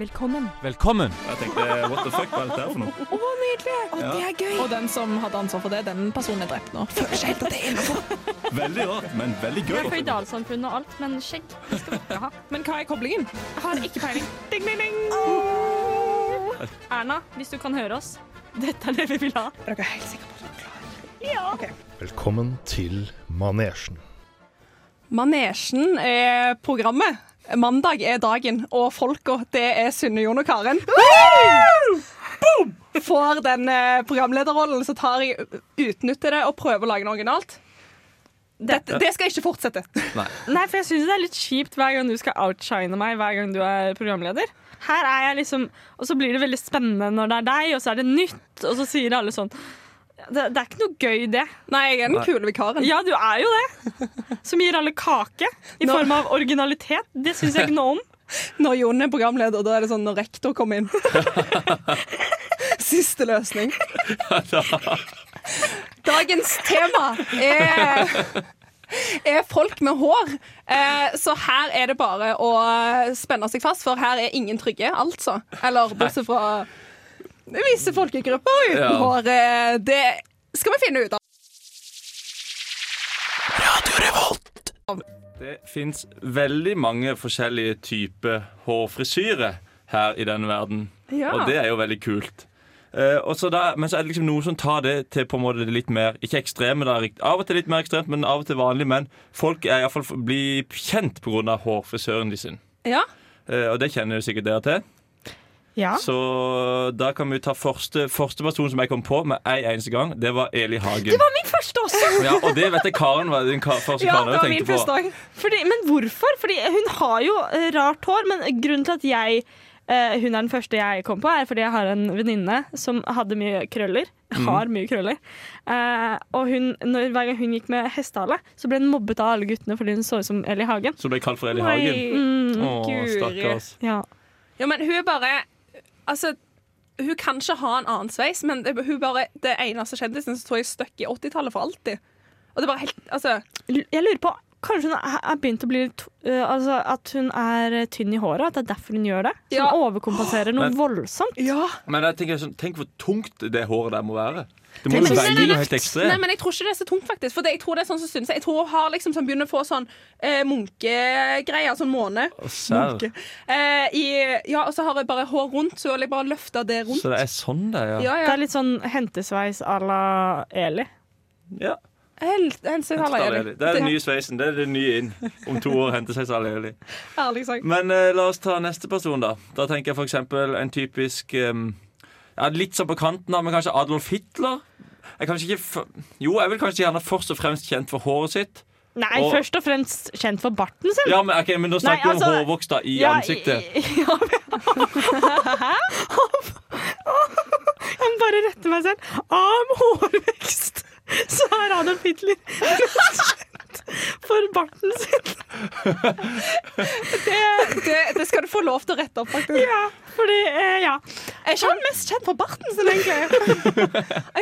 Velkommen. Velkommen! Og Jeg tenkte what the fuck, hva er dette her for noe? Å, nydelig! Å, Ja. Det er gøy. Og den som hadde ansvar for det, den personen er drept nå. Føler seg helt at det er innenfor. Veldig rart, men veldig Vi gøy. er føydalsamfunn og alt, men skjegg det skal vi ikke ha. Men hva er koblingen? Jeg har ikke peiling. Ding, ding, ding. Erna, hvis du kan høre oss, dette er det vi vil ha. Er dere helt sikre på at dere klarer det? Velkommen til Manesjen. Manesjen er programmet. Mandag er dagen, og folka, det er Synne, Jon og Karen. Boom! Får den eh, programlederrollen, så tar jeg utnytter det og prøver å lage noe originalt. Dette, det skal jeg ikke fortsette. Nei, for jeg syns det er litt kjipt hver gang du skal outshine meg hver gang du er programleder. Her er jeg liksom Og så blir det veldig spennende når det er deg, og så er det nytt, og så sier alle sånn det, det er ikke noe gøy, det. Nei, jeg er den kule vikaren. Ja, du er jo det. Som gir alle kake i Nå- form av originalitet. Det syns jeg ikke noe om. Når Jon er programleder, da er det sånn når rektor kommer inn. Siste løsning. Dagens tema er, er folk med hår. Eh, så her er det bare å spenne seg fast, for her er ingen trygge, altså. Eller bortsett fra visse folkegrupper uten Ja. hår. Eh, Det skal vi finne ut av. Det fins veldig mange forskjellige typer hårfrisyrer her i denne verden. Ja. Og det er jo veldig kult. Eh, og så da, men så er det liksom noen som tar det til på en måte det litt mer Ikke ekstreme, da, rikt- av og til litt mer ekstremt, men av og til vanlig. Men folk er iallfall blir kjent pga. hårfrisøren de sin. Ja. Eh, og det kjenner jo sikkert dere til. Ja. Så da kan vi ta første, første person som jeg kom på med en eneste gang. Det var Eli Hagen. Det var min første også! Ja, Og det vet jeg Karen var den ka første ja, Karen det jeg var min tenkte første på. dag. Fordi, men hvorfor? Fordi hun har jo eh, rart hår, men grunnen til at jeg eh, hun er den første jeg kom på, er fordi jeg har en venninne som hadde mye krøller. Har mye krøller. Eh, og hun, når, hver gang hun gikk med hestehale, så ble hun mobbet av alle guttene fordi hun så ut som Ellie Hagen. Som ble kalt for Eli Hagen. Mm, Å, stakkars. ja. Ja, men hun er bare Altså, hun kan ikke ha en annen sveis, men det, hun bare det eneste kjendisen som tror jeg er stuck i 80-tallet for alltid. Og det er bare helt Altså, L- Jeg lurer på Kanskje hun er er begynt å bli litt eh, Altså at hun er eh, tynn i håret, at det er derfor hun gjør det? Som Ja. overkompenserer noe Men- voldsomt. ja. Men jeg tenker sånn, tenk hvor tungt det håret der må være. Det må Tenk jo så veie mye noe helt Nei, ekstremt. men jeg tror ikke det er så tungt, faktisk. For det, jeg tror det er sånn som synes jeg. Jeg tror hun har liksom sånn, begynner å få sånn eh, munkegreier, sånn måne. Å, serr. Munke. Eh, i, ja, og så har hun bare hår rundt, så hun bare løfter det rundt. Så det er sånn det er, ja. Ja, Det ja. er litt sånn hentesveis à la Eli. ja. Helt, helt, så Hente har seg jeg alle Eli. det. Det er den nye sveisen. Det er det nye inn. Om to år henter seg Sally Eli. Ærlig sagt. Men eh, la oss ta neste person, da. Da tenker jeg for eksempel en typisk eh, ja, Litt sånn på kanten av, men kanskje Adolf Hitler? Jeg er kanskje ikke f jo, jeg er vel kanskje gjerne først og fremst kjent for håret sitt. Nei, Og- først og fremst kjent for barten sin. Ja, Men, ok, men nå snakker vi Nei, altså- om hårvokst da, i ansiktet. Ja, jeg må bare rette meg selv. Av hårvekst så er Adolf Hitler mest kjent for barten sin. Det, Eh, det, det skal du få lov til å rette opp, faktisk. Ja, fordi eh, Ja. Er ikke han mest kjent for barten sin, egentlig? Jeg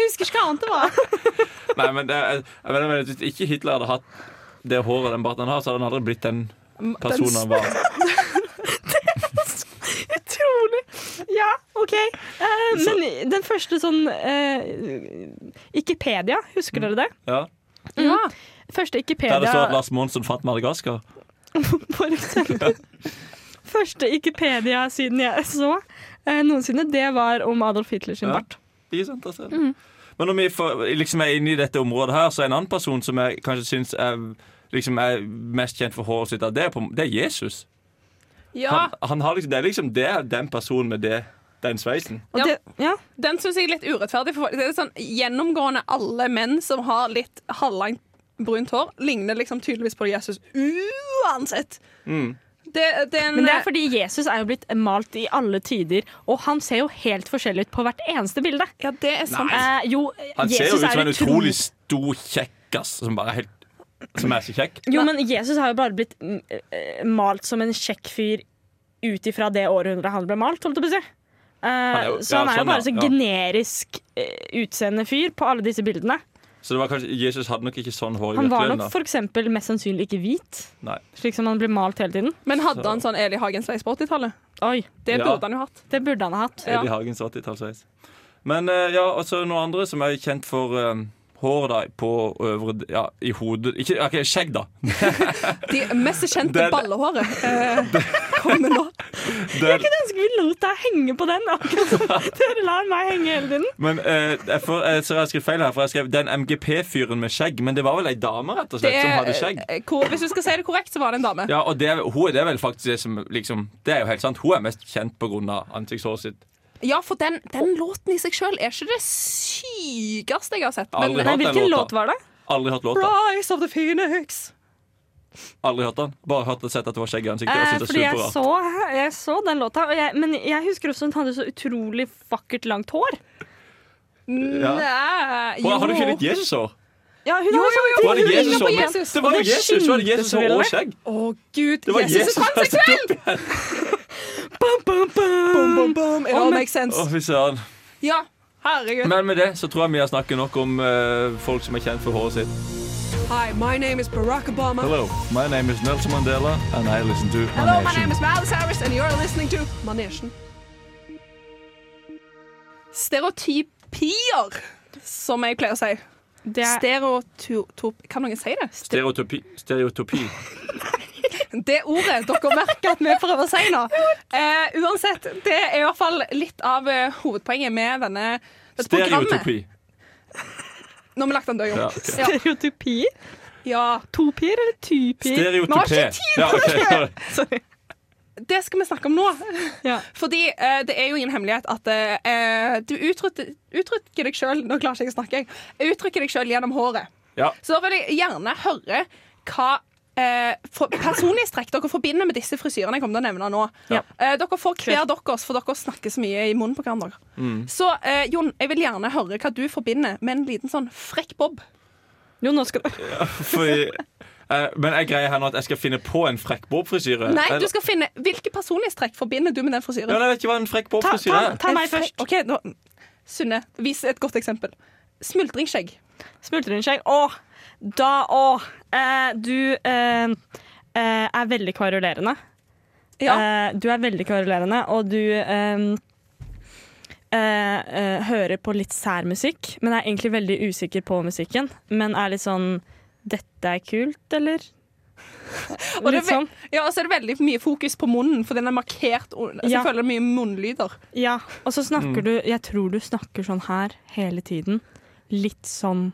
husker ikke hva annet det var. Nei, men, det, er- jeg mener, men Hvis ikke Hitler hadde hatt det håret og den barten han har, så hadde han aldri blitt den personen han var. Utrolig. Ja, OK. Eh, men den første sånn eh, Wikipedia, husker dere det? Ja. Ja. Første Der det står at Wikipedia, Lars Monsen fant Madagaskar. for eksempel. Første Wikipedia-siden jeg så eh, noensinne, det var om Adolf Hitlers Ja. bart. De er så interessante. Men når vi får, liksom er inne i dette området her, så er en annen person som jeg kanskje syns er, liksom er mest kjent for håret sitt, at det er, på, det er Jesus. ja. Han, han har liksom, det er liksom det er den personen med det, den sveisen. Og Ja. det, ja. Den syns jeg er litt urettferdig. For det er sånn Gjennomgående alle menn som har litt halvlangt brunt hår, ligner liksom tydeligvis på Jesus uansett. Mm. Det, det er en, Men det er fordi Jesus er jo blitt malt i alle tider, og han ser jo helt forskjellig ut på hvert eneste bilde. Ja, det er sant. Eh, jo, Han ser jo Jesus ut som er en utro- utrolig stor kjekkas som bare er helt som er så kjekk. Jo, men Jesus har jo bare blitt mm, eh, malt som en kjekk fyr ut ifra det århundret han ble malt, holdt jeg på å si. Eh, er jo- så han er ja, jo sånn, bare ja, sånn ja. generisk eh, utseende fyr på alle disse bildene. Så det var kanskje, Jesus hadde nok ikke sånn hår i Han var virkeligheten. nok for eksempel mest sannsynlig ikke hvit, da. Nei. slik som han ble malt hele tiden. Men hadde han sånn Eli Hagen sveis på 80-tallet? Oi, Det Ja. burde han jo hatt. det burde han ha hatt. Ja. Eddie Hagens 80-tallsveis. Men eh, ja, også noen andre som er kjent for eh, hår da, på øvre Ja, i hodet Ikke ok, skjegg, da. De mest kjente Det- ballehåret. Eh, kommer nå. Der, Jeg ønsker vi lot deg henge på den, akkurat som dere lar meg henge hele tiden. men eh, jeg, får, jeg ser jeg har skrevet feil her, for jeg skrev 'den MGP-fyren med skjegg'. Men det var vel ei dame rett og Det slett som er, hadde skjegg? eh, hvor, hvis du skal si det korrekt, så var det en dame. Ja, og det, er- hun, det er vel faktisk det som liksom, Det er jo helt sant. Hun er mest kjent pga. ansiktshåret sitt. Ja, for den, den låten i seg sjøl er ikke det sykeste jeg har sett. Aldri Nei, hørt den hvilken låta. låt var det? Aldri hørt låta. Rise of the Phoenix. Aldri hørt den. Bare hørt og sett at det var skjegg i ansiktet. Eh, og syntes fordi det var jeg superrart. så, jeg så den låta, og jeg, men jeg husker også at hun hadde så utrolig vakkert langt hår. sånn, Ja. eh, Nei Å, Har du ikke litt Jesus-hår? Ja, hun Jo, har jo, sånn jo, Var det hun ligner Jesus på som- Jesus. Det var jo Og det Jesus! Så var det skinte Jesus så veldig. og skjegg. Å, gud. Det var Jesus, Jesus er transseksuell! bam, bam, bam. Boom, boom, it all makes sense. Å, fy søren. Ja, herregud. Men med det så tror jeg vi har snakket nok om eh, folk som er kjent for håret sitt. Hi, my name is Barack Obama. Hello, my name is Nelson Mandela, and I listen to Hello, my name is Miles Harris, and you're listening to Manesjen. Stereotypier, som jeg pleier å si. Det er, Stereotop... Kan noen si det? Stereotypi. Stereotypi. Det ordet dere merker at vi prøver å si nå. Eh, uansett, det er i hvert fall litt av eh, hovedpoenget med denne dette programmet. Stereotypi. Nå har vi lagt den død, jo. Ja, ok. Ja. Stereotypi? ja. Topier eller typier? Nå har Stereotypi. ikke Ja, ok, sorry. Sorry. Det skal vi snakke om nå. Ja. Fordi eh, det er jo ingen hemmelighet at eh, du uttrykker, uttrykker deg sjøl Nå klarer ikke jeg å snakke, jeg. Uttrykker deg sjøl gjennom håret. Ja. Så da vil jeg gjerne høre hva eh, for, personlige strekk dere forbinder med disse frisyrene jeg kommer til å nevne nå. Ja. Eh, dere får hver deres, for dere snakker så mye i munnen på hverandre. Mm. Så eh, Jon, jeg vil gjerne høre hva du forbinder med en liten sånn frekk bob. Jo, nå skal du Fordi, eh, men jeg greier her nå at jeg skal finne på en frekk bob-frisyre. Nei, Eller- du skal finne Hvilke personlige strekk forbinder du med den frisyren? ja, men Jeg vet ikke hva en frekk ta, ta, bob-frisyre er. ta meg En fre- først. OK, nå Sunne, vis et godt eksempel. Smultringskjegg. Smultringskjegg. Å, da å. Eh, du eh, eh, er veldig kvarulerende. Ja. Eh, du er veldig kvarulerende, og du eh, eh, eh, hører på litt sær musikk, men er egentlig veldig usikker på musikken. Men er litt sånn Dette er kult, eller? Og Litt det er ve- sånn. Ja, og så er det veldig mye fokus på munnen, for den er markert. og- Så Ja. jeg føler det er mye munnlyder. Ja. Og så snakker du Jeg tror du snakker sånn her hele tiden. Litt sånn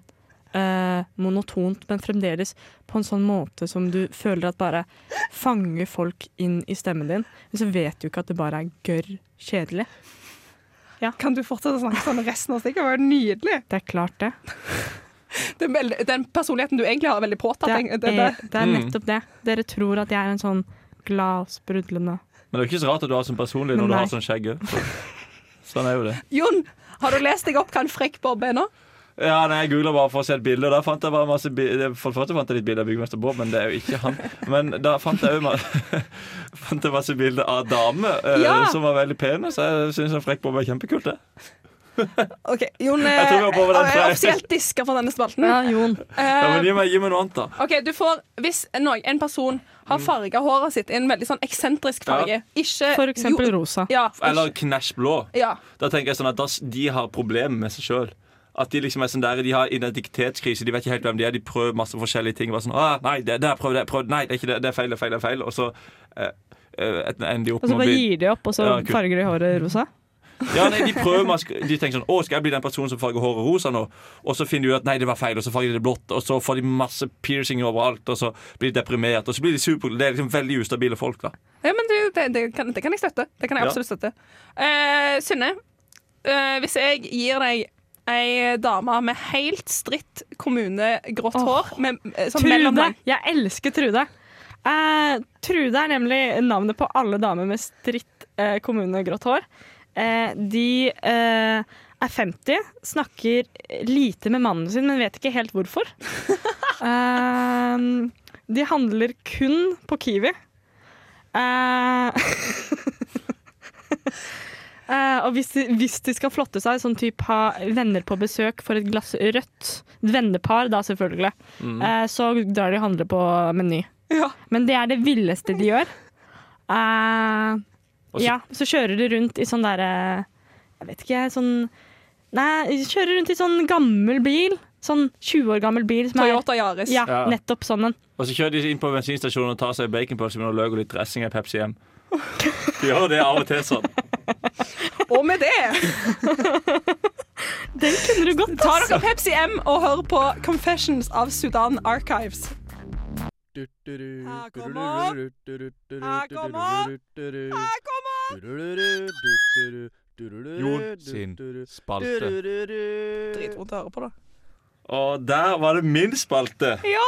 eh, monotont, men fremdeles på en sånn måte som du føler at bare fanger folk inn i stemmen din. Men så vet du ikke at det bare er gørr kjedelig. Kan du fortsette å snakke sånn resten av stikket? Det var jo nydelig. Det er klart, det. Den, veld- den personligheten du egentlig har, er veldig påtatt. Det tenk- er, Det, det, det er nettopp det. Dere tror at jeg er en sånn glad, sprudlende Men det er jo ikke så rart at du har sånn personlig Men når du nei. har sånn skjegg. også. Sånn er jo det. Jon, har du lest deg opp hva en frekk bob er nå? Ja, nei, Jeg googla bare for å se et bilde, og da fant jeg bare masse bi For det første fant jeg litt bilder av byggmester Bob, men det er jo ikke han. Men da fant jeg òg fant jeg masse bilder av damer eh, Ja. som var veldig pene, så jeg syns Frekk Bob er kjempekult, det. Ok, Jon Jeg tror vi eh, hopper over den, for er jeg- offisielt diska for denne spalten. Ja, Jon. Ja, Eh, men gi meg, gi meg noe annet, da. OK, du får Hvis no, en person har Mm. farga håret sitt i en veldig sånn eksentrisk farge, ikke For eksempel Eh, jo- rosa. Ja. Eller knæsj blå. ja. Da tenker jeg sånn at da s- de har problemer med seg sjøl. At de liksom er sånn der, de har identitetskrise, de vet ikke helt hvem de er. De prøver masse forskjellige ting. Bare sånn, ah, nei, det, det, prøv det, prøv det, nei, det er ikke det, det er feil, det er feil, det er feil. Og så eh, eh, ender de opp Og så med å bare bli gir de opp, og så Ja, kult. farger de håret rosa. Ja, nei, De prøver mask De tenker sånn Å, skal jeg bli den personen som farger håret rosa nå? Og så finner de ut at nei, det var feil, og så farger de det blått. Og så får de masse piercinger overalt, og så blir de deprimert. Og så blir de super Det er liksom veldig ustabile folk, da. Ja, men du, det, det, kan, det kan jeg støtte. Det kan jeg Ja. absolutt støtte. Eh, Synne, eh, hvis jeg gir deg ei dame med helt stritt kommunegrått Åh. hår med, eh, sånn Trude! mellomlang Jeg elsker Trude. Eh, Trude er nemlig navnet på alle damer med stritt eh, kommunegrått hår. Eh, de eh, er 50, snakker lite med mannen sin, men vet ikke helt hvorfor. Eh, de handler kun på Kiwi. Eh, Eh, og hvis de, hvis de skal flotte seg, sånn type ha venner på besøk for et glass rødt et Vennepar, da selvfølgelig. Mm. Eh, så drar de og handler på Meny. Ja. Men det er det villeste de gjør. Eh, Og så- ja, så kjører de rundt i sånn derre Jeg vet ikke, sånn Nei, de kjører rundt i sånn gammel bil. Sånn 20 år gammel bil. Som er, Toyota Yaris. ja, Ja. nettopp sånn en. Og så kjører de inn på bensinstasjonen og tar seg baconpølse med noe løk og litt dressing og en Pepsi hjem. De gjør det av og til sånn. Og med det Den kunne du godt tar dere Pepsi M og hører på Confessions of Sudan Archives. Mm. Ah, Jon sin spalte. Dritvondt å høre på, da. Og der var det min spalte. Ja!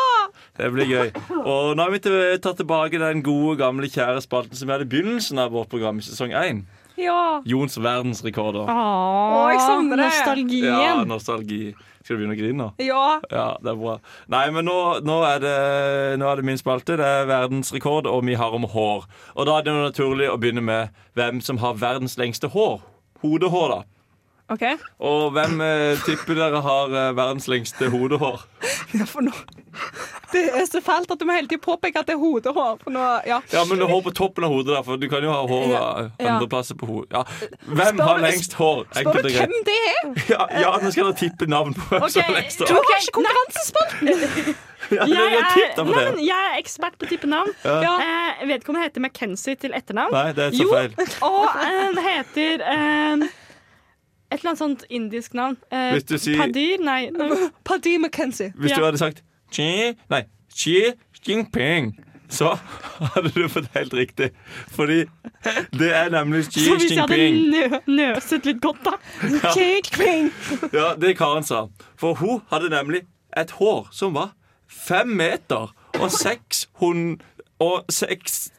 Det blir gøy. Og nå har vi til- tatt tilbake den gode, gamle, kjære spalten som vi hadde i begynnelsen av vårt program i sesong 1. Ja. Jons verdensrekorder. Å, jeg savner det. Ja, Nostalgien. nostalgi. Skal du begynne å grine nå? ja. Ja, det er bra. Nei, men nå, nå, er det, nå er det min spalte. Det er verdensrekord, og vi har om hår. Og da er det jo naturlig å begynne med hvem som har verdens lengste hår. Hodehår, da. OK. Og hvem eh, tipper dere har eh, verdens lengste hodehår? Ja, for nå Det er så fælt at du må hele tiden påpeke at det er hodehår. For nå, ja. Ja, men hår på toppen av hodet, da, for du kan jo ha hår Ja, ja. andreplasser på hodet. Ja. Hvem Spør har du- lengst hår? Spør Enkelt du og hvem greit. det er? Ja, ja, nå skal dere tippe navn på hvem som har Ok, lengst du- hår. Du har ikke Ja, konkurransespørsmål! dere Jeg har er, tippet på nei, det. men jeg er ekspert på tippenavn. Ja. Eh, vedkommende heter McKenzie til etternavn. Nei, det er så Jo. feil. Og han heter eh, et eller annet sånt indisk navn. Eh, Hvis du sier- Padir? Nei. nei. Paddy McKenzie. Hvis du Ja. hadde sagt Xi, nei, Xi Jinping, så hadde du fått helt riktig. Fordi det er nemlig Xi Så hvis jeg hadde Jinping. nø nøset litt godt, da. Jade Queen. Ja, det Karen sa. For hun hadde nemlig et hår som var fem meter og seks hun- Og seks-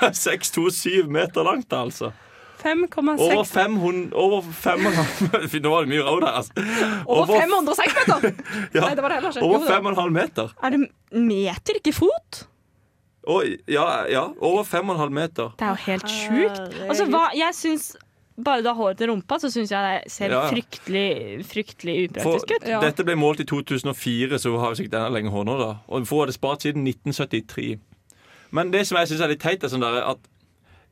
5,627 meter langt, altså. 5,6 Over 500 Over 5,5 Nå var det mye råd her, altså. Over Over- 500 centimeter! Ja, Nei, det var det heller ikke. Jo, over det var- 5,5 meter. Er det meter, ikke fot? Og, ja, ja, over 5,5 meter. Det er jo Ah, helt sjukt. Altså, hva, jeg syns bare du har håret til rumpa, så syns jeg det ser Ja, ja. fryktelig fryktelig For, upraktisk ut. Ja. Dette ble målt i 2004, så hun har jo sikkert enda lenger hår nå. da Og Hun har det spart siden 1973. Men det som jeg syns er litt teit, er sånn der, at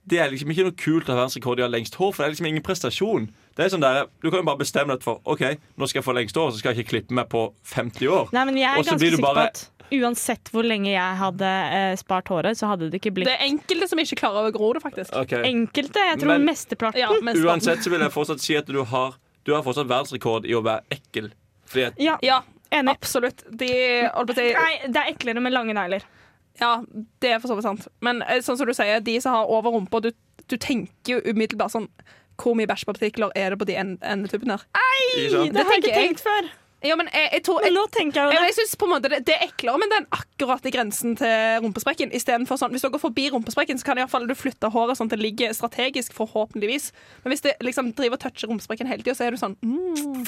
det er liksom ikke noe kult å ha verdensrekord i å ha lengst hår, for det er liksom ingen prestasjon. Det er sånn der, Du kan jo bare bestemme deg for OK, nå skal jeg få lengst hår, så skal jeg ikke klippe meg på 50 år. Nei, men jeg er Og så ganske blir du sikker bare- på at uansett hvor lenge jeg hadde eh, spart håret, så hadde det ikke blitt Det er enkelte som ikke klarer å gro det, faktisk. Ok. enkelte. Jeg tror Men- mesteparten. Ja, men Uansett så vil jeg fortsatt si at du har Du har fortsatt verdensrekord i å være ekkel. Fordi at Ja, Ja, enig. absolutt. De holdt på å si Nei, det er eklere med lange negler. Ja, det er for så vidt sant. Men eh, sånn som du sier, de som har over rumpa du, du tenker jo umiddelbart sånn Hvor mye bæsjpartikler er det på de en- endetuppene her? ikke sant? Det har jeg tenker ikke jeg. tenkt før. Ja, men jeg, jeg tror Men jeg, nå tenker jeg, jeg jo det. jeg synes på en måte det, det er eklere, men den akkurat i grensen til rumpesprekken. I stedet for sånn, Hvis du går forbi rumpesprekken, så kan i hvert fall du flytte håret sånn at det ligger strategisk, forhåpentligvis. Men hvis det liksom driver og toucher rumpesprekken hele tida, så er du sånn mm.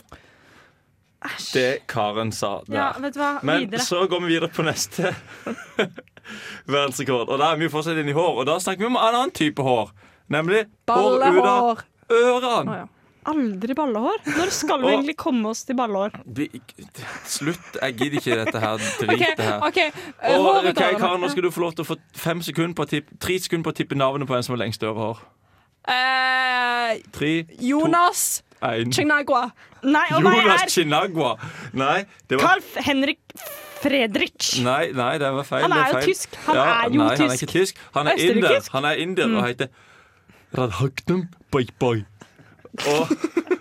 Det Karen sa der. Ja, vet du hva? Men Videre. så går vi videre på neste verdensrekord. Og da er vi fortsatt inne i hår. Og da snakker vi om en annen type hår. Nemlig hår ut av Ballehår. ørene. Å, ja. Aldri ballehår. Når skal vi Og- egentlig komme oss til ballehår? Det- ikke- Slutt. Jeg gidder ikke dette her. Drit OK. det her. ok, eh, Og, hår ut av ok, ørene. Karen, nå skal du få lov til å få fem sekunder på å tippe, tre sekunder på å tippe navnet på en som har lengst ørehår. Eh, Tre, Jonas to, én Chignagua. Nei, og hva Jonas er Chinagua. Nei, det var Carl Henrik Fredrich? Nei, nei, det var feil. Han det er jo feil. tysk. Han er jo nei, Han er tysk. Mm. ikke tysk. Han er Østerrikisk. inder. Han er inder og heter Radhagnum Bye-Bye. Og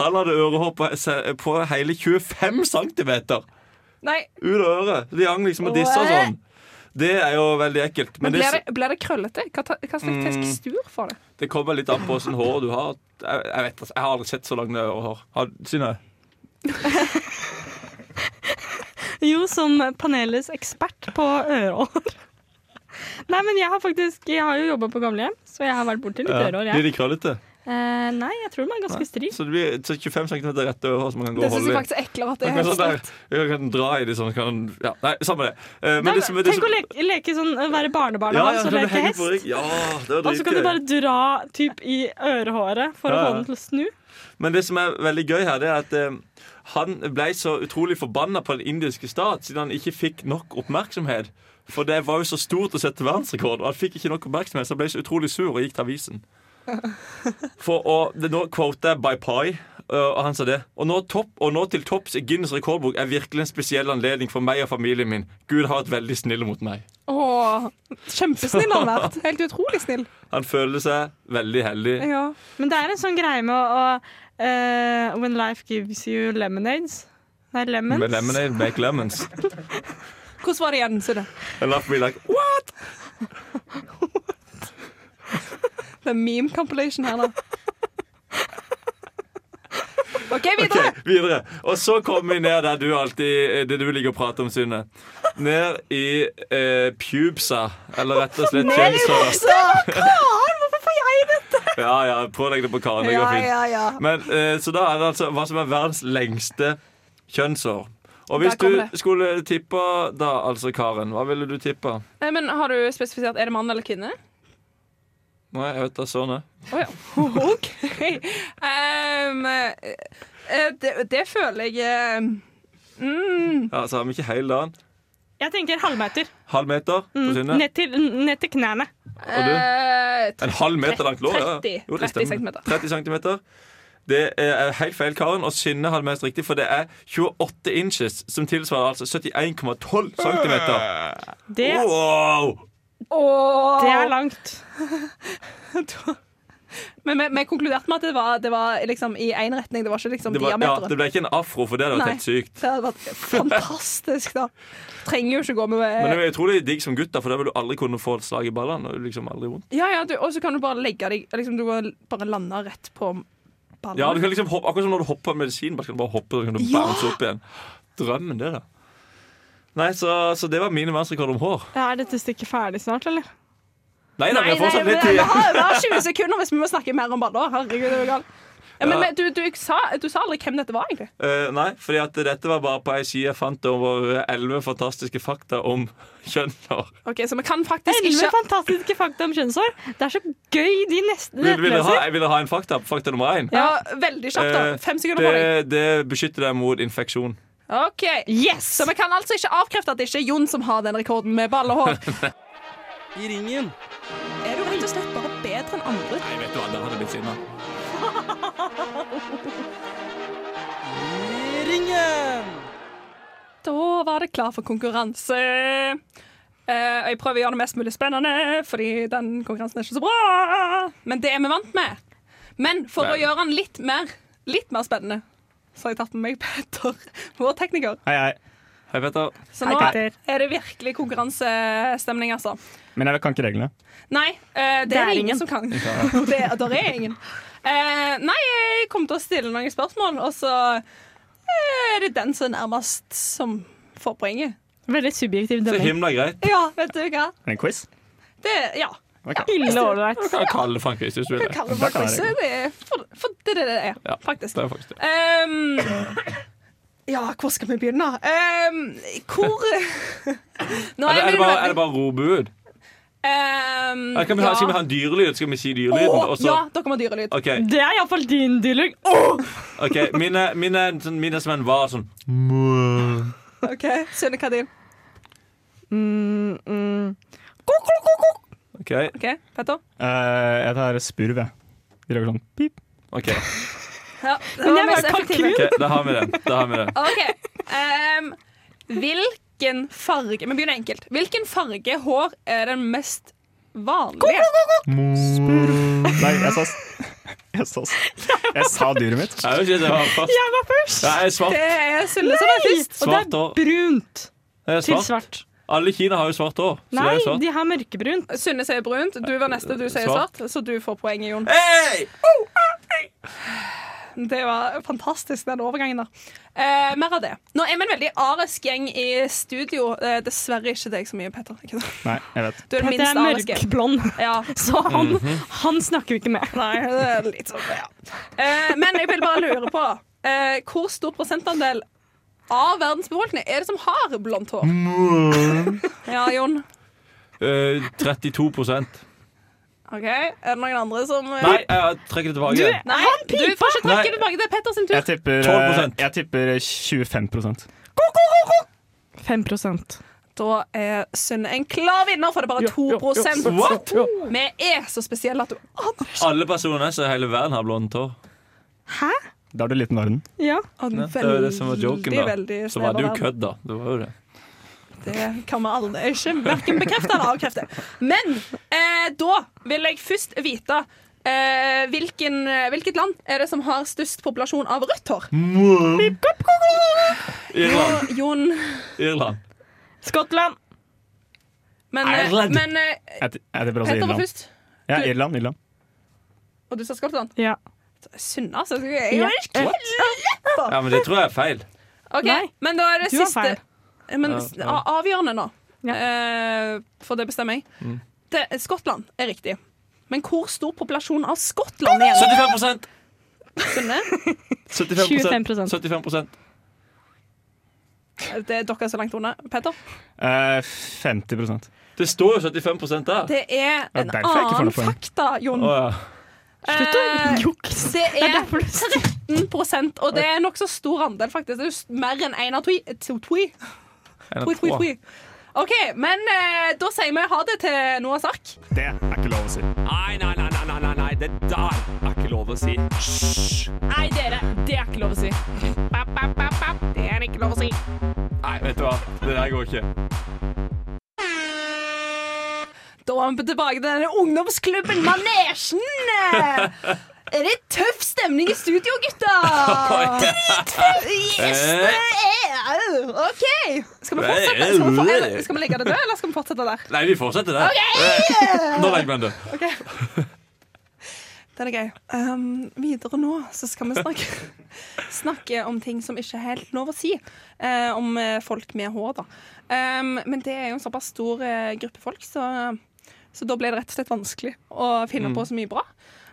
han hadde ørehår på, se- på hele 25 cm ut Nei, av øret. De hang liksom og dissa sånn. Det er jo veldig ekkelt. Men det, Men Mm. blir det, blir det krøllete? Hva, ta- hva slags tekstur får det? det kommer litt an på åssen hår du har. Jeg, jeg vet altså, jeg har aldri sett så langt ørehår. Har- Synne? Jo, som panelets ekspert på ørehår. Nei, men jeg har faktisk Jeg har jo jobba på gamlehjem, så jeg har vært borti litt ørehår, jeg. Blir de krøllete? Eh, nei, jeg tror den var ganske stri. Så det blir så 25 cm rett over, så man kan gå og Det syns jeg holde i. faktisk er eklere at det Man kan, er helt sånn der, stort. man kan dra i det sånn kan, ja, Nei, samme det. Eh, men Nei, det som- det Tenk som- å leke, leke sånn, eh, være barnebarn Ja, og ja, så kan du leke henge hest. på rygg? Ja, det var Og så kan du dritgøy. bare dra typ i ørehåret for å Ja, ja. få den til å snu. Men det som er veldig gøy her, det er at eh, han ble så utrolig forbanna på den indiske stat siden han ikke fikk nok oppmerksomhet. For det var jo så stort å sette verdensrekord, og han fikk ikke nok oppmerksomhet, så han ble så utrolig sur og gikk til avisen. For å, det, Nå quoter jeg By Pie, eh, og han sa det. Og nå, topp, og nå til topps i Guinness rekordbok er virkelig en spesiell anledning for meg og familien min. Gud har vært veldig snill mot meg. Åh, Kjempesnill har han vært. Helt utrolig snill. Han føler seg veldig heldig. Ja. Men det er en sånn greie med å, å eh, When life gives you lemonades. Nei, lemons. Med lemonade, make lemons. Hvordan var det igjen, Sunne? And laugh me like, Det er meme compilation her, da. OK, Ok, videre. videre. Og så kommer vi ned der du alltid eh, Det du liker å prate om, Synne. Ned i eh, pubesa. Eller rett og slett kjønnshår. Karen, hvorfor får jeg dette? Ja, ja, pålegg det på Karen. Det Ja, går fint. ja, ja. Men, eh, så da er det altså hva som er verdens lengste kjønnshår. Og hvis Der kommer du skulle tippe da, altså Karen, hva ville du tippe? Eh, Men har du spesifisert er det mann eller kvinne? Nei, jeg vet da sånn, jeg. Å ja. OK. Ehm, eh, det, det føler jeg eh, mm, Ja, så har vi ikke hele dagen. Jeg tenker halvmeter. Halv meter på Mm, Synne. ned, til, ned til knærne. du? eh, En halv meter langt lår? ja. 30, Jo, det 30 stemmer. centimeter. 30 centimeter. Det er eh, helt feil, Karen. Og Synne hadde mest riktig, for det er 28 inches, som tilsvarer altså 71,12 centimeter. Det, Wow! Åh. det er langt. Men vi, vi konkluderte med at det var, det var liksom i én retning, det var ikke liksom Det, var, ja, diameteren. det ble ikke en afro, for det hadde Nei. vært helt sykt. Det hadde vært fantastisk, da. Trenger jo ikke gå med Men det var utrolig digg som gutt, da, for da vil du aldri kunne få et slag i ballene. og liksom aldri vondt. Ja, ja, du- Og så kan du bare legge deg liksom, Du kan bare lande rett på ballen. Ja, du kan liksom hoppe, Akkurat som når du hopper på medisin, bare kan du bare hoppe og så kan du Ja! bounce opp igjen. Drømmen, det, da. Nei, så, så det var mine verdensrekorder om hår. Ja, er dette stykket ferdig snart, eller? Nei da, vi har Nei, nei, fortsatt men litt vi tid. har, vi har 20 sekunder hvis vi må snakke mer om baller. Herregud, det er jo galt. Ja, men Ja. men du, du, sa, du sa aldri hvem dette var, egentlig. Eh, nei, fordi at dette var bare på ei side jeg fant over elleve fantastiske fakta om kjønnshår. Ok, Så vi kan faktisk Elleve ikke fantastiske fakta om kjønnshår. Det er så gøy de neste Vil, vil, dere ha, nettleser. jeg ville ha en fakta. Fakta nummer én. ja, Veldig kjapt, da. Eh, Fem sekunder på deg. Det, det beskytter deg mot infeksjon. Ok, Yes! Så vi kan altså ikke avkrefte at det ikke er Jon som har den rekorden med ballehår. I ringen. er du rett og slett bare bedre enn andre? Nei, vet du hva, der hadde blitt sinna. I ringen. Da var det klar for konkurranse. Eh, og jeg prøver å gjøre det mest mulig spennende, fordi den konkurransen er ikke så bra. Men det er vi vant med. Men for å Men. gjøre den litt mer, litt mer spennende, så har jeg tatt med meg Petter, vår tekniker. Hei, hei. Hei, Petter. Så nå Hei, Petter. er det virkelig konkurransestemning, altså. Men jeg kan ikke reglene. Nei, eh, det, er ingen, som kan. det, der er ingen. Eh, nei, jeg kom til å stille noen spørsmål, og så eh, er det den som er nærmest som får poenget. Veldig subjektiv Så dømming. himla greit. Ja, vet du hva? Er det en quiz? Det, ja. Ok. Ille ålreit. Du kan kalle det for en quiz hvis du vil. Hva det. kaller Da man kan jeg quiz? det. Det er for, for det er det det er, Ja, faktisk. Det er faktisk det. Ehm, ja, hvor skal vi begynne? Ehm, hvor Nå Er det, er det jeg bare, er veldig- det bare å rope ut? Ehm, Eller kan vi ha, ja. skal vi ha en dyrelyd? Skal vi si dyrelyden? Åh, og så- ja, dere må ha dyrelyd. OK. Det er iallfall din dialog. ok, Mine, mine, sånn- mine som en var sånn Ok, Sunne Kadin. Mm, mm. OK. Ok, Petter? Eh, jeg tar spurv, jeg. De lager sånn pip. ok, Ja, det Men var jeg mest var effektive. kalkun. ok, Da har vi den. Da har vi den. Ok, ehm, Hvilken farge Vi begynner enkelt. Hvilken farge hår er den mest vanlige? Spurv. Nei, jeg sa s- Jeg sa, s- jeg sa dyret mitt. Jeg vet ikke, det var fast. Jeg var først! Det er svart. Det er Sunne som er først. Og det Svart er hår. brunt Det er til svart. svart. Alle i Kina har jo svart hår. Så det Nei, er jo svart. de har mørkebrunt. Sunne sier brunt, du var neste, du sier Svart. svart, så du får poenget, Jon. Hey! Det var fantastisk, den overgangen der. Eh, mer av det. Nå er vi en veldig arisk gjeng i studio. Eh, dessverre ikke deg så mye, Petter. Ikke sant? Nei, jeg vet. Du er den Petter minst er ariske. mørkblond, Ja. så han, han snakker vi ikke med. Nei, det er litt sånn, ja. Eh, men jeg vil bare lure på eh, hvor stor prosentandel av verdens befolkning er det som har blondt hår? Ja, Jon. Eh, 32 Ok, Er det noen andre som eh, Nei, jeg trekker det tilbake. igjen. Nei, du får ikke Nei. trekke tilbake. Det er Petter sin tur. Jeg tipper, eh, 12%. jeg tipper 25 5 Da er Synne en klar vinner, for det er bare 2 What? Vi er så spesielle at du aner ikke. Alle personer så i hele verden har blondt hår. Da er du liten verden. Ja. Ja, det var det som var joken, da. veldig Så var det jo snever kødd, da. Det var jo det. Det kan vi aldri ikke hverken bekrefte eller avkrefte. Men eh, da vil jeg først vite eh, hvilken, hvilket land er det som har størst populasjon av rødt hår? Mm. Irland. Og Jon Irland. Skottland. Men, eh, Ireland. men eh, Jeg, ti- jeg tipper også Petter var Irland. først, Ja, Irland, Irland. og du sa Skottland. Ja. Sunna, altså. Jeg er ikke Eh, Ja, men det tror jeg er feil. Ok, Nei. Men da er det Du har siste feil. Eh, Men Ja, s- ja. a- avgjørende nå, Ja. Eh, for det bestemmer jeg. Mm. Det, Skottland er riktig. Men hvor stor populasjon av Skottland er det? 75 Sunne? 75 25%. 75 Det er dere så langt unna. Petter? Eh, 50 Det står jo 75 der. Det er en derfor jeg ikke får annen noe poeng. fakta, Jon. Å ja. Slutt å Eh, jukse. Det Det er er derfor du 13 og det er nokså stor andel, faktisk. Det er jo s- mer enn én av twi. to- twi. En av Twi, twi, to. twi. OK, men eh, da sier vi ha det til Noahs ark. Det er ikke lov å si. Nei, nei, nei, nei, nei, nei, nei, det der er ikke lov å si. Nei, dere. Det er ikke lov å si. Det er ikke lov å si. Nei, vet du hva. Det der går ikke. Da er vi tilbake til denne ungdomsklubben Manesjen. Er det tøff stemning i studio, gutter? Yes, det er OK. Skal vi fortsette? Skal vi, for, eller, skal vi legge det død, eller skal vi fortsette der? Nei, vi fortsetter der. Eh, Nå legger vi den død. Den er gøy. Um, videre nå så skal vi snakke, snakke om ting som ikke er helt lov å si. eh, om eh, folk med hår, da. Um, men det er jo en såpass stor eh, gruppe folk, så, så da ble det rett og slett vanskelig å finne på så mye bra.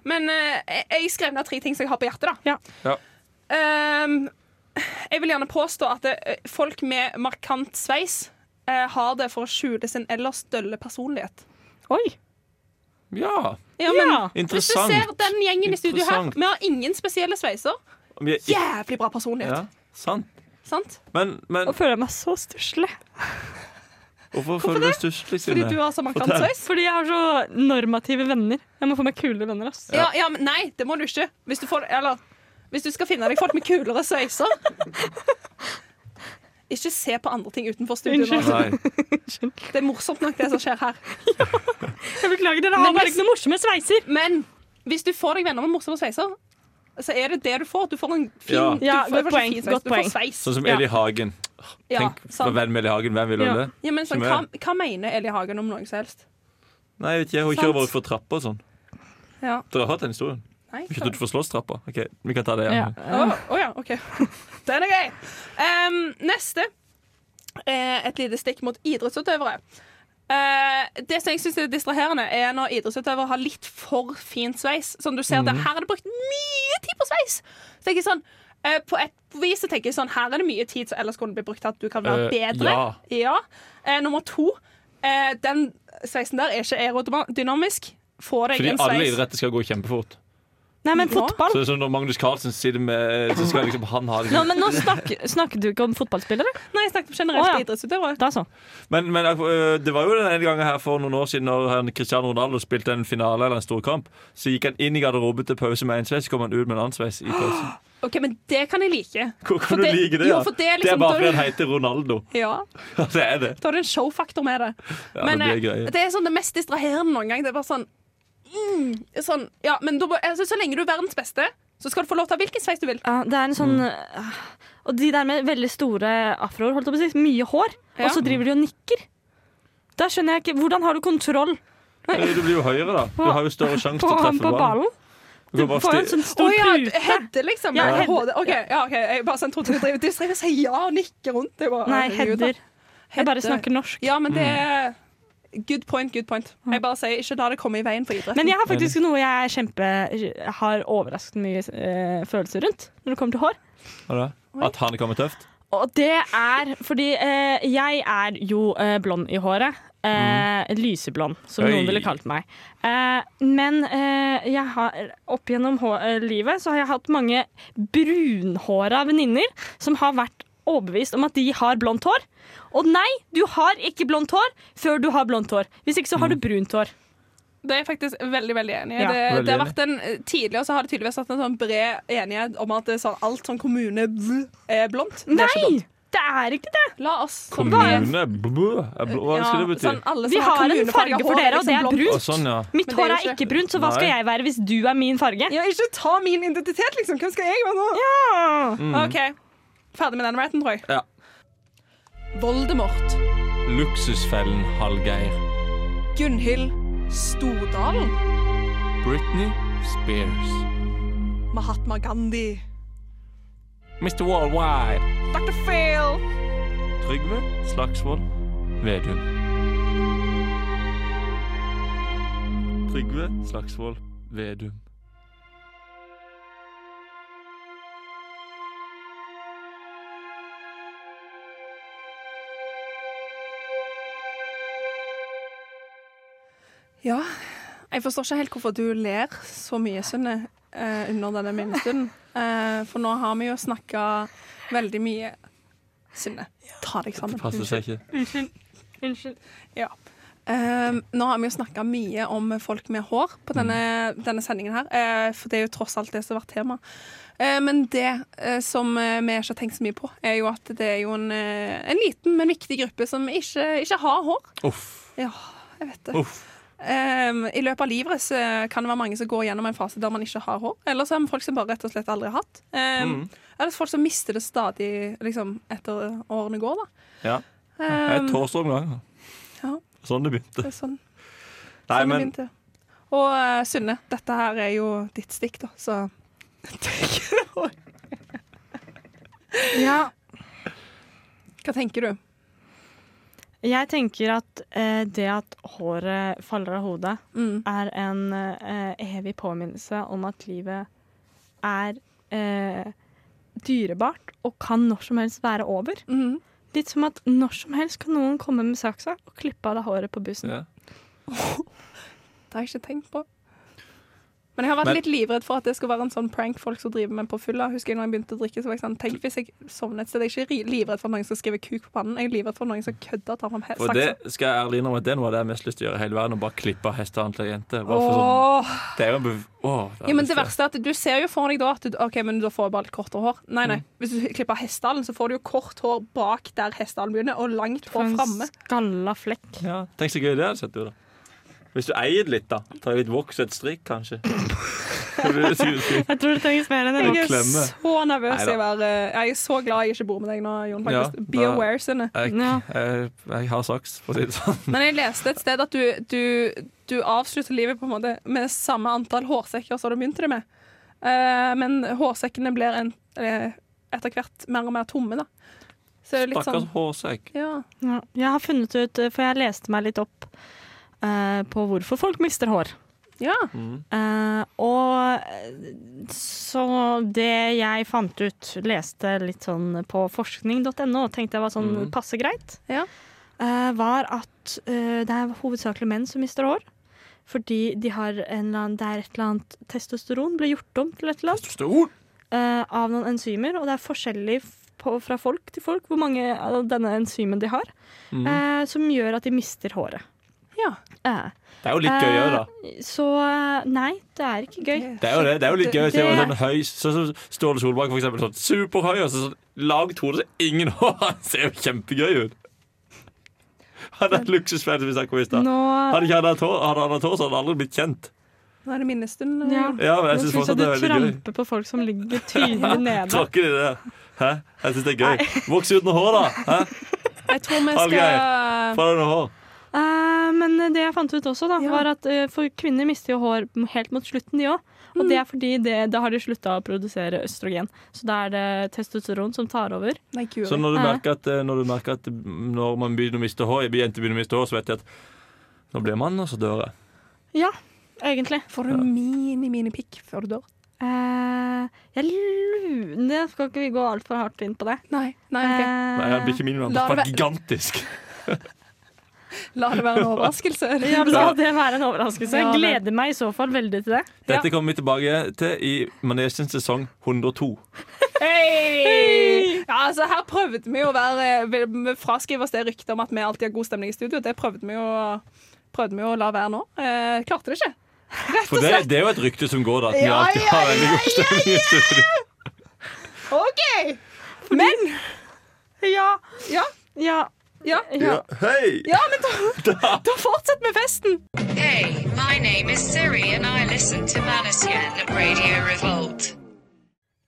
Men eh, jeg- jeg skrev ned tre ting som jeg har på hjertet, da. Ja. Ja. Um, jeg vil gjerne påstå at eh, folk med markant sveis eh, har det for å skjule sin ellers dølle personlighet. Oi. Ja. Ja, men Ja. Interessant. Hvis du ser den gjengen i studio her, Interessant. vi har ingen spesielle sveiser. Om jeg- Jævlig bra personlighet. Ja, sant. Sant? Men, men Nå føler jeg meg så stusslig. hvorfor føler du deg stusslig, Fordi du Synne? har så markant sveis? Fordi jeg har så normative venner. Jeg må få meg kule venner. ass. Ja, ja, men nei, det må du ikke. Hvis du, får, eller, hvis du skal finne deg folk med kulere sveiser Ikke se på andre ting utenfor studio. nå. Unnskyld. Nei. Det er morsomt nok, det som skjer her. Jeg beklager, dere har Men bare hvis- ikke noen morsomme sveiser. Men hvis du får deg venner med morsomme sveiser, så er det det du får. Du får en fin, Ja. du Ja, får, godt du får poeng, Fin sveis. godt du får poeng. sveis. Sånn som Ja. Eli Hagen. Ja, Tenk å sant. være venn med Eli Hagen. Hvem ville Ja. det? Ja, men sånn, som hva, er- hva mener Eli Hagen om noe som helst? Nei, jeg vet ikke, hun Sant. kjører utfor trappa og sånn. Ja. Dere har hørt den historien? Nei, Ikke at du får slåss trappa. Ok, vi kan ta Ja. det igjen. Å å ja, OK. Den er gøy. Em, neste. Eh, et lite stikk mot idrettsutøvere. Eh, det som jeg syns er distraherende, er når idrettsutøvere har litt for fin sveis. Som du ser, Mhm. det, her er det brukt mye tid på sveis! Så tenker jeg sånn eh, På et vis så tenker jeg sånn Her er det mye tid som ellers kunne blitt brukt til at du kan være Eh, bedre. ja. Eh, nummer to. Eh, den sveisen der er ikke aerodynamisk. Få deg Fordi en alle sveis. idretter skal gå kjempefort. Nei, men Ja. fotball Så det er sånn når Magnus Carlsen sitter med Så skal liksom han ha det. Nå, men nå snak, snakket du ikke om fotballspillere. Nei, jeg snakket om generelt Å, ja. idrettsutøvere. Da så. Men, men øh, det var jo den ene gangen her for noen år siden Når han- Cristiano Ronaldo spilte en finale eller en stor kamp Så gikk han inn i garderoben til pause med en sveis Så kom han ut med en annen sveis i pausen Ok, Men det kan jeg like. Hvor kan For du det- like det? jo, da? for det er det liksom- er bare da- fordi han heter Ronaldo Ja, Ja, Det er det Da har du en showfaktor med det. Ja, men det blir eh, greier. det er sånn det mest distraherende noen gang. Det er bare sånn, mm, sånn ja, men da, må- altså, Så lenge du er verdens beste, så skal du få lov til å ha hvilken sveis du vil. Ja, det er en sånn øh, Og de der med veldig store afroer, holdt jeg på å si, mye hår, Ja. og så driver de og nikker. Da skjønner jeg ikke Hvordan har du kontroll Eh, Du blir jo høyere da Du har jo større sjanse på, til å på treffe ballen ballen? Du kan bare får jo sti- en sånn Å stor ja, pute. Hedde, liksom. Ja, Ja, Hedde. HD. Ok, ja, ok. Jeg bare sånn trodde du drev Du drev og sier ja og nikker rundt. Jeg bare, Nei, herregud, da. header. Jeg bare Hedde. snakker norsk. Ja, men det er Good point, good point. Jeg bare sier ikke la det komme i veien for idretten. Men jeg har faktisk noe jeg er kjempe, eh, har overraskende mye eh, følelser rundt når det kommer til hår. Hva da? At han kommer tøft? Og det er fordi eh, jeg er jo eh, blond i håret. Eh, Mm. Lyseblond, som Oi. noen ville kalt meg. Eh, men eh, jeg har, opp gjennom hå- eh, livet så har jeg hatt mange brunhåra venninner som har vært overbevist om at de har blondt hår. Og nei, du har ikke blondt hår før du har blondt hår. Hvis ikke så Mm. har du brunt hår. Det er jeg faktisk veldig veldig enig i. Ja, det, veldig det har vært en, tidligere så har det tydeligvis vært en sånn bred enighet om at det er sånn, alt sånn kommune bl- er blondt. Det er ikke Nei! blondt. Det er ikke det! La oss Kommune? Blå? Hva Ja, skal det bety? sånn, alle som Vi har en kommunefarge farge for hår liksom dere, og det er blondt. Altså. Å, brunt. sånn, ja. Mitt Men det er hår er jo ikke- ikke brunt, så hva skal Nei. jeg være hvis du er min farge? Ja, ikke ta min identitet, liksom! Hvem skal jeg være nå? Ja. OK. Ferdig med den raten, tror jeg. Mm. Ja. Voldemort. Luksusfellen Hallgeir. Gunhild Stordalen. Britney Spears. Mahatma Gandhi. Mr. Worldwide. Dr. Phil. Trygve Slagsvold Vedum. Trygve Slagsvold Vedum. Ja, jeg forstår ikke helt hvorfor du ler så mye, Synne, eh, under denne minnestunden. Eh, for nå har vi jo snakka veldig mye Synne, ta deg sammen. Passer seg ikke. Unnskyld. Ja. Eh, nå har vi jo snakka mye om folk med hår på denne, denne sendingen her, eh, for det er jo tross alt det som har vært tema. Eh, men det eh, som eh, vi ikke har tenkt så mye på, er jo at det er jo en, eh, en liten, men viktig gruppe som ikke, ikke har hår. Uff. Ja, jeg vet det. Uff. Ehm, I løpet av livet så kan det være mange som går gjennom en fase der man ikke har hår. Eller så er det folk som bare rett og slett aldri har hatt. Ehm, Eller så folk som mister det stadig liksom, etter årene går. Da. Ja. Jeg Ehm, er torsomgang. ja. Sånn det begynte. det er sånn, Nei, sånn det men begynte. Og eh, Synne, dette her er jo ditt stikk, da, så Hva tenker du? Jeg tenker at eh, det at håret faller av hodet, Mm. er en eh, evig påminnelse om at livet er eh, dyrebart og kan når som helst være over. Mhm. Litt som at når som helst kan noen komme med saksa og klippe av deg håret på bussen. ja. Det har jeg ikke tenkt på. Men jeg har vært Men- litt livredd for at det skal være en sånn prank folk som driver med på fylla. Husker jeg når jeg begynte å drikke, så var jeg sånn Tenk hvis jeg sovner et sted. Jeg er ikke ri- livredd for at noen skal skrive kuk på pannen. Jeg er livredd for at noen som kødder og tar fram he- Og saksa. det skal jeg ærlig innrømme at det er noe av det jeg har mest lyst til å gjøre i hele verden. Å bare klippe av hestehånd til ei jente. Bare for sånn, Åh. det er jo en bev... Åh, det har jeg Ja, men lyst det til. verste er at du ser jo for deg da at du, Ok, men da får jeg bare litt kortere hår. Nei, Mm. nei. Hvis du klipper hestehalen, så får du jo kort hår bak der hestehalen begynner, og langt For hår en framme. skalla flekk. Ja, Tenk så gøy det hadde sett ut, da. Hvis du eier det litt, da. Tar litt voks og et strikk, kanskje. Det blir superfint. Jeg tror det trengs mer enn en Jeg Jeg er er klemme. så nervøs. Neida. Jeg, var, eh, jeg er så glad jeg ikke bor med deg nå, Jon. Ja, faktisk. Be da- aware, Synne. Jeg, Ja. jeg, jeg har saks, for å si det sånn. Men jeg leste et sted at du, du, du avslutter livet på en måte med samme antall hårsekker som du begynte det med. Eh, men hårsekkene blir en, eh, etter hvert mer og mer tomme, da. Så det er litt Stakkars sånn hårsekk. ja. Ja. Jeg har funnet ut, eh, for jeg leste meg litt opp eh, på hvorfor folk mister hår. ja. Mm. Eh, og eh, så det jeg fant ut, leste litt sånn på forskning.no, og tenkte jeg var sånn Mhm. passe greit, Ja. eh, var at eh, det er hovedsakelig menn som mister hår. Fordi de har en eller annen, det er et eller annet testosteron blir gjort om til et eller annet Stor. eh, av noen enzymer, og det er forskjellig f- på, fra folk til folk hvor mange av denne enzymen de har, Mm. eh, som gjør at de mister håret. Ja. Eh, Det er jo litt gøy òg, da. så eh, nei, det er ikke gøy. Det er jo det. Det er jo litt gøy å se Det- sånn høy Sånn som Ståle Solbakk, for eksempel. Sånn superhøy, og så sånn langt hode, så ingen hår. Han ser jo kjempegøy ut. Han er et luksusfan som vi snakket om i stad. Nå, Hadde ikke han hatt hår, hadde han hatt hår, så hadde han aldri blitt kjent. Nå er det minnestund. ja. Ja, men Nå jeg synes syns jeg fortsatt du det er veldig gøy. tramper på folk som ligger tydelig nede. Tråkker de det? Hæ? Jeg syns det er gøy. Voks uten hår, da. Hæ? Jeg tror vi Hallgeir. skal Få deg noe hår. Eh, men det jeg fant ut også, da, Ja. var at eh, for kvinner mister jo hår m- helt mot slutten, de òg. Og det er fordi det, da har de slutta å produsere østrogen. Så da er det testosteron som tar over. Nei, guri. Så når du Ja. merker at eh, når, du merker at når man begynner å miste hår, jenter begynner å miste hår, så vet jeg at nå blir man altså dør jeg. Ja, egentlig. Får du mini-mini-pikk før du dør? Eh, jeg lurer Det skal ikke vi gå altfor hardt inn på det. Eh, Nei. nei ok. Nei, jeg blir ikke min, men La det bare være- gigantisk. La det være en overraskelse. Ja, La det være en overraskelse. Ja, Jeg det- gleder meg i så fall veldig til det. Dette kommer vi tilbake til i manesjens sesong 102. Hei! Ja, altså Her prøvde vi jo å være vi- vi Fraskrive oss det ryktet om at vi alltid har god stemning i studio. Det prøvde vi jo, prøvde vi jo å la være nå. Eh, klarte det ikke. For det, det er jo et rykte som går, da. At vi alltid har veldig god stemning i studio. OK! Men Ja. Ja. Ja. Ja. ja. Hei! Ja, men da, da fortsetter vi festen! Hey, my name is Siri and I listen to Manasian Radio Revolt.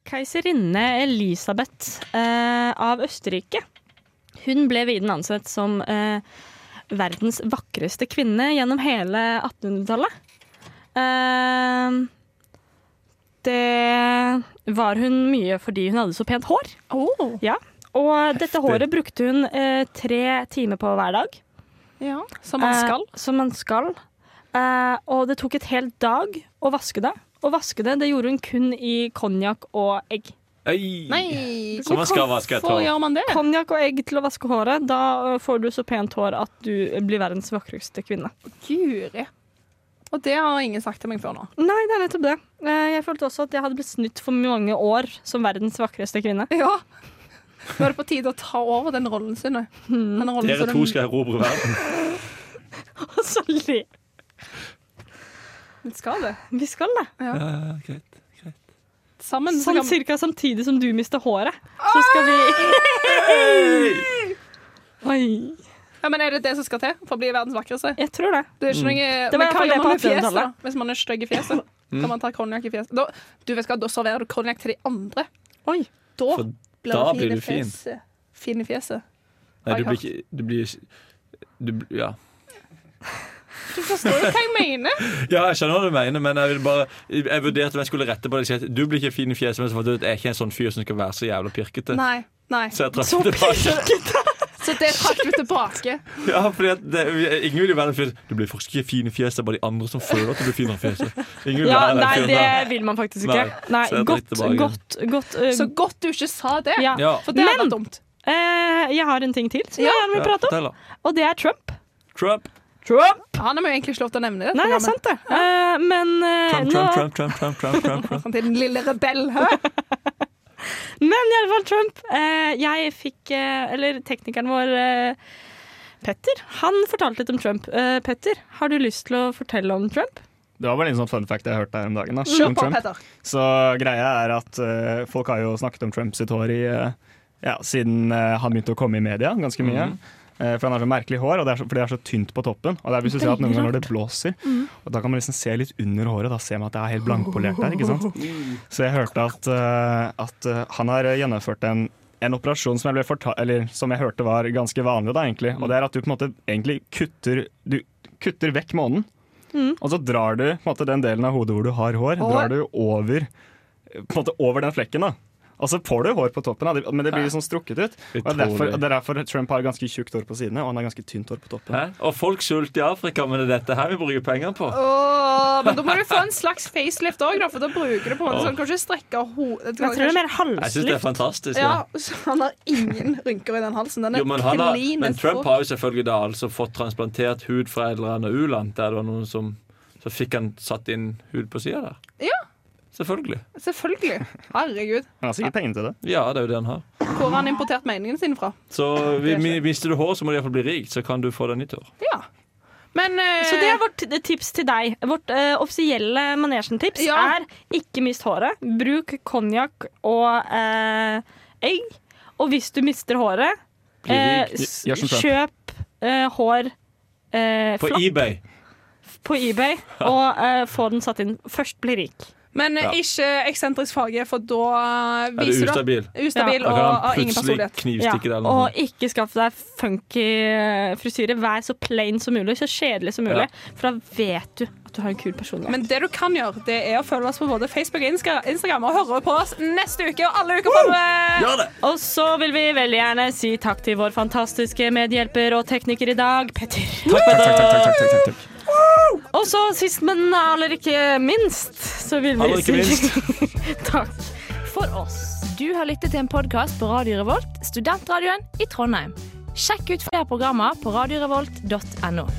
Keiserinne Elisabeth eh, av Østerrike. Hun ble viden ansett som eh, verdens vakreste kvinne gjennom hele 1800-tallet. Eh, det var hun mye fordi hun hadde så pent hår. Oh. Ja. Og dette håret brukte hun eh, tre timer på hver dag. Ja, Som man skal. Eh, som man skal. Eh, og det tok et helt dag å vaske det. Å vaske det, det gjorde hun kun i konjakk og egg. Hei. Nei, Så man skal vaske et hvorfor hår. gjør man det? Konjakk og egg til å vaske håret. Da ø, får du så pent hår at du blir verdens vakreste kvinne. Guri. Og det har ingen sagt til meg før nå. Nei, det er nettopp det. Eh, Jeg følte også at jeg hadde blitt snytt for mange år som verdens vakreste kvinne. Ja. Nå er det på tide å ta over den rollen sin. Den Hmm. rollen Dere som to den- skal erobre verden. Og så le. skal det. Vi skal det. Ja, greit. Sammen. så Sånn kan- cirka samtidig som du mister håret. Så skal vi Oi. Ja, men Er det det som skal til for å bli verdens vakreste? Jeg tror det. Det er Hmm. ikke Det var noe Men i hvert hva fall det gjør man på med fjeset? da? 1800-tallet. Hvis man er stygg i fjeset, Hmm. kan man ta konjakk i fjeset. Da, du vet hva, da serverer du konjakk til de andre. Oi. Da For blir da du blir du fin i fin. fjeset. Fin i fjeset. Nei, du blir ikke Du blir ikke du, bl- ja. Du forstår jo hva jeg mener. ja, jeg skjønner hva du mener, men jeg vil bare Jeg vurderte om jeg skulle rette på det. og si at Du blir ikke fin i fjeset, men så fant jeg ut at jeg er ikke en sånn fyr som skal være så jævla pirkete. Nei. nei. Så jeg trakk det tilbake. Så det trakk du tilbake. Ja, fordi at det, ingen vil jo være den fyren Du blir faktisk ikke fin i fjeset, det er bare de andre som føler at du blir finere i fjeset. Ingen vil Ja, være den nei, fyren det der. vil man faktisk Nei, ikke. Nei, så jeg godt, drikker tilbake. godt, godt ø, Så godt du ikke sa det. ja. Ja. For det hadde Men- vært dumt. Eh, Jeg har en ting til som jeg Ja. gjerne vil prate om, fortell da. og det er Trump. Trump, Trump! Han har vi jo egentlig ikke lov til å nevne det. Nei, det er programmet. sant, det. Eh, men, eh, nå, Trump, Trump, Trump, Trump, Trump, Trump, Trump, Trump. Han liksom til den lille rebell. Hæ? men i alle fall Trump. Eh, jeg fikk eh, Eller teknikeren vår, eh, Petter, han fortalte litt om Trump. Eh, Petter, har du lyst til å fortelle om Trump? Det var bare en sånn fun fact jeg hørte her om dagen. Da, Kjør om på, Trump. Petter. Så greia er at eh, folk har jo snakket om Trump sitt hår i, eh, ja, siden eh, han begynte å komme i media ganske mye. Eh, for han har så merkelig hår, og det er så, for det er så tynt på toppen. Og det er hvis du ser at noen ganger når det blåser, og da kan man liksom se litt under håret, da ser man at det er helt blankpolert der, ikke sant. Så jeg hørte at, eh, at eh, han har gjennomført en en operasjon som jeg, ble forta- eller, som jeg hørte var ganske vanlig, da, egentlig. Mm. Og det er at du på en måte egentlig kutter, du kutter vekk månen. Mm. Og så drar du på en måte, den delen av hodet hvor du har hår, drar du over, eh, på en måte, over den flekken. da. Og så får du hår på toppen, da, men det blir liksom strukket ut. Og det er derfor, Utrolig. det er derfor Trump har ganske tjukt hår på sidene, og han har ganske tynt hår på toppen. Hæ? Og folk sulter i Afrika, men det er dette her vi bruker penger på. Åh, men da må du få en slags facelift òg, for da bruker du på en måte sånn Kanskje strekke hodet Jeg tror det er mer Jeg syns det er halslyft. fantastisk. Ja. Ja, så han har ingen rynker i den halsen. Den er Jo, men, han har, clean men as Trump fuck. har jo selvfølgelig da altså fått transplantert hud fra et eller annet u-land. Der det var noen som Så fikk han satt inn hud på sida der. Ja. Selvfølgelig. Selvfølgelig. Herregud. Han har sikkert penger til det. Ja, det er jo det han har. Hvor har han importert meningen sin fra? Så vi, mi- mister du hår, så må du iallfall bli rik, så kan du få deg nytt hår. Ja. Men eh, Så det er vårt t- tips til deg. Vårt eh, offisielle manesjen-tips Ja. er ikke mist håret. Bruk konjakk og eh, egg. Og hvis du mister håret, Bli eh, rik. s- Gjør som Trump. kjøp eh, hår eh, På flatt. eBay. på eBay og eh, få den satt inn. Først bli rik. Men eh, Ja. ikke eksentrisk farge, for da eh, Er du viser du at- ustabil? ustabil Da og kan har han ingen plutselig personlighet. Ja, knivstikke deg eller noe. og ikke skaff deg funky eh, frisyre. Vær så plain som mulig, så kjedelig som mulig. For da vet du at du har en kul personlighet. Men det du kan gjøre, det er å følge oss på både Facebook og Insta- Instagram, og høre på oss neste uke og alle uker framover. Gjør det! og så vil vi veldig gjerne si takk til vår fantastiske medhjelper og tekniker i dag, Petter. Takk, takk, takk, takk, takk, takk, takk. Og så sist, men aller ikke minst, så vil vi Aller ikke si takk for oss. Du har lyttet til en podkast på Radio Revolt, studentradioen i Trondheim. Sjekk ut flere programmer på radiorevolt.no.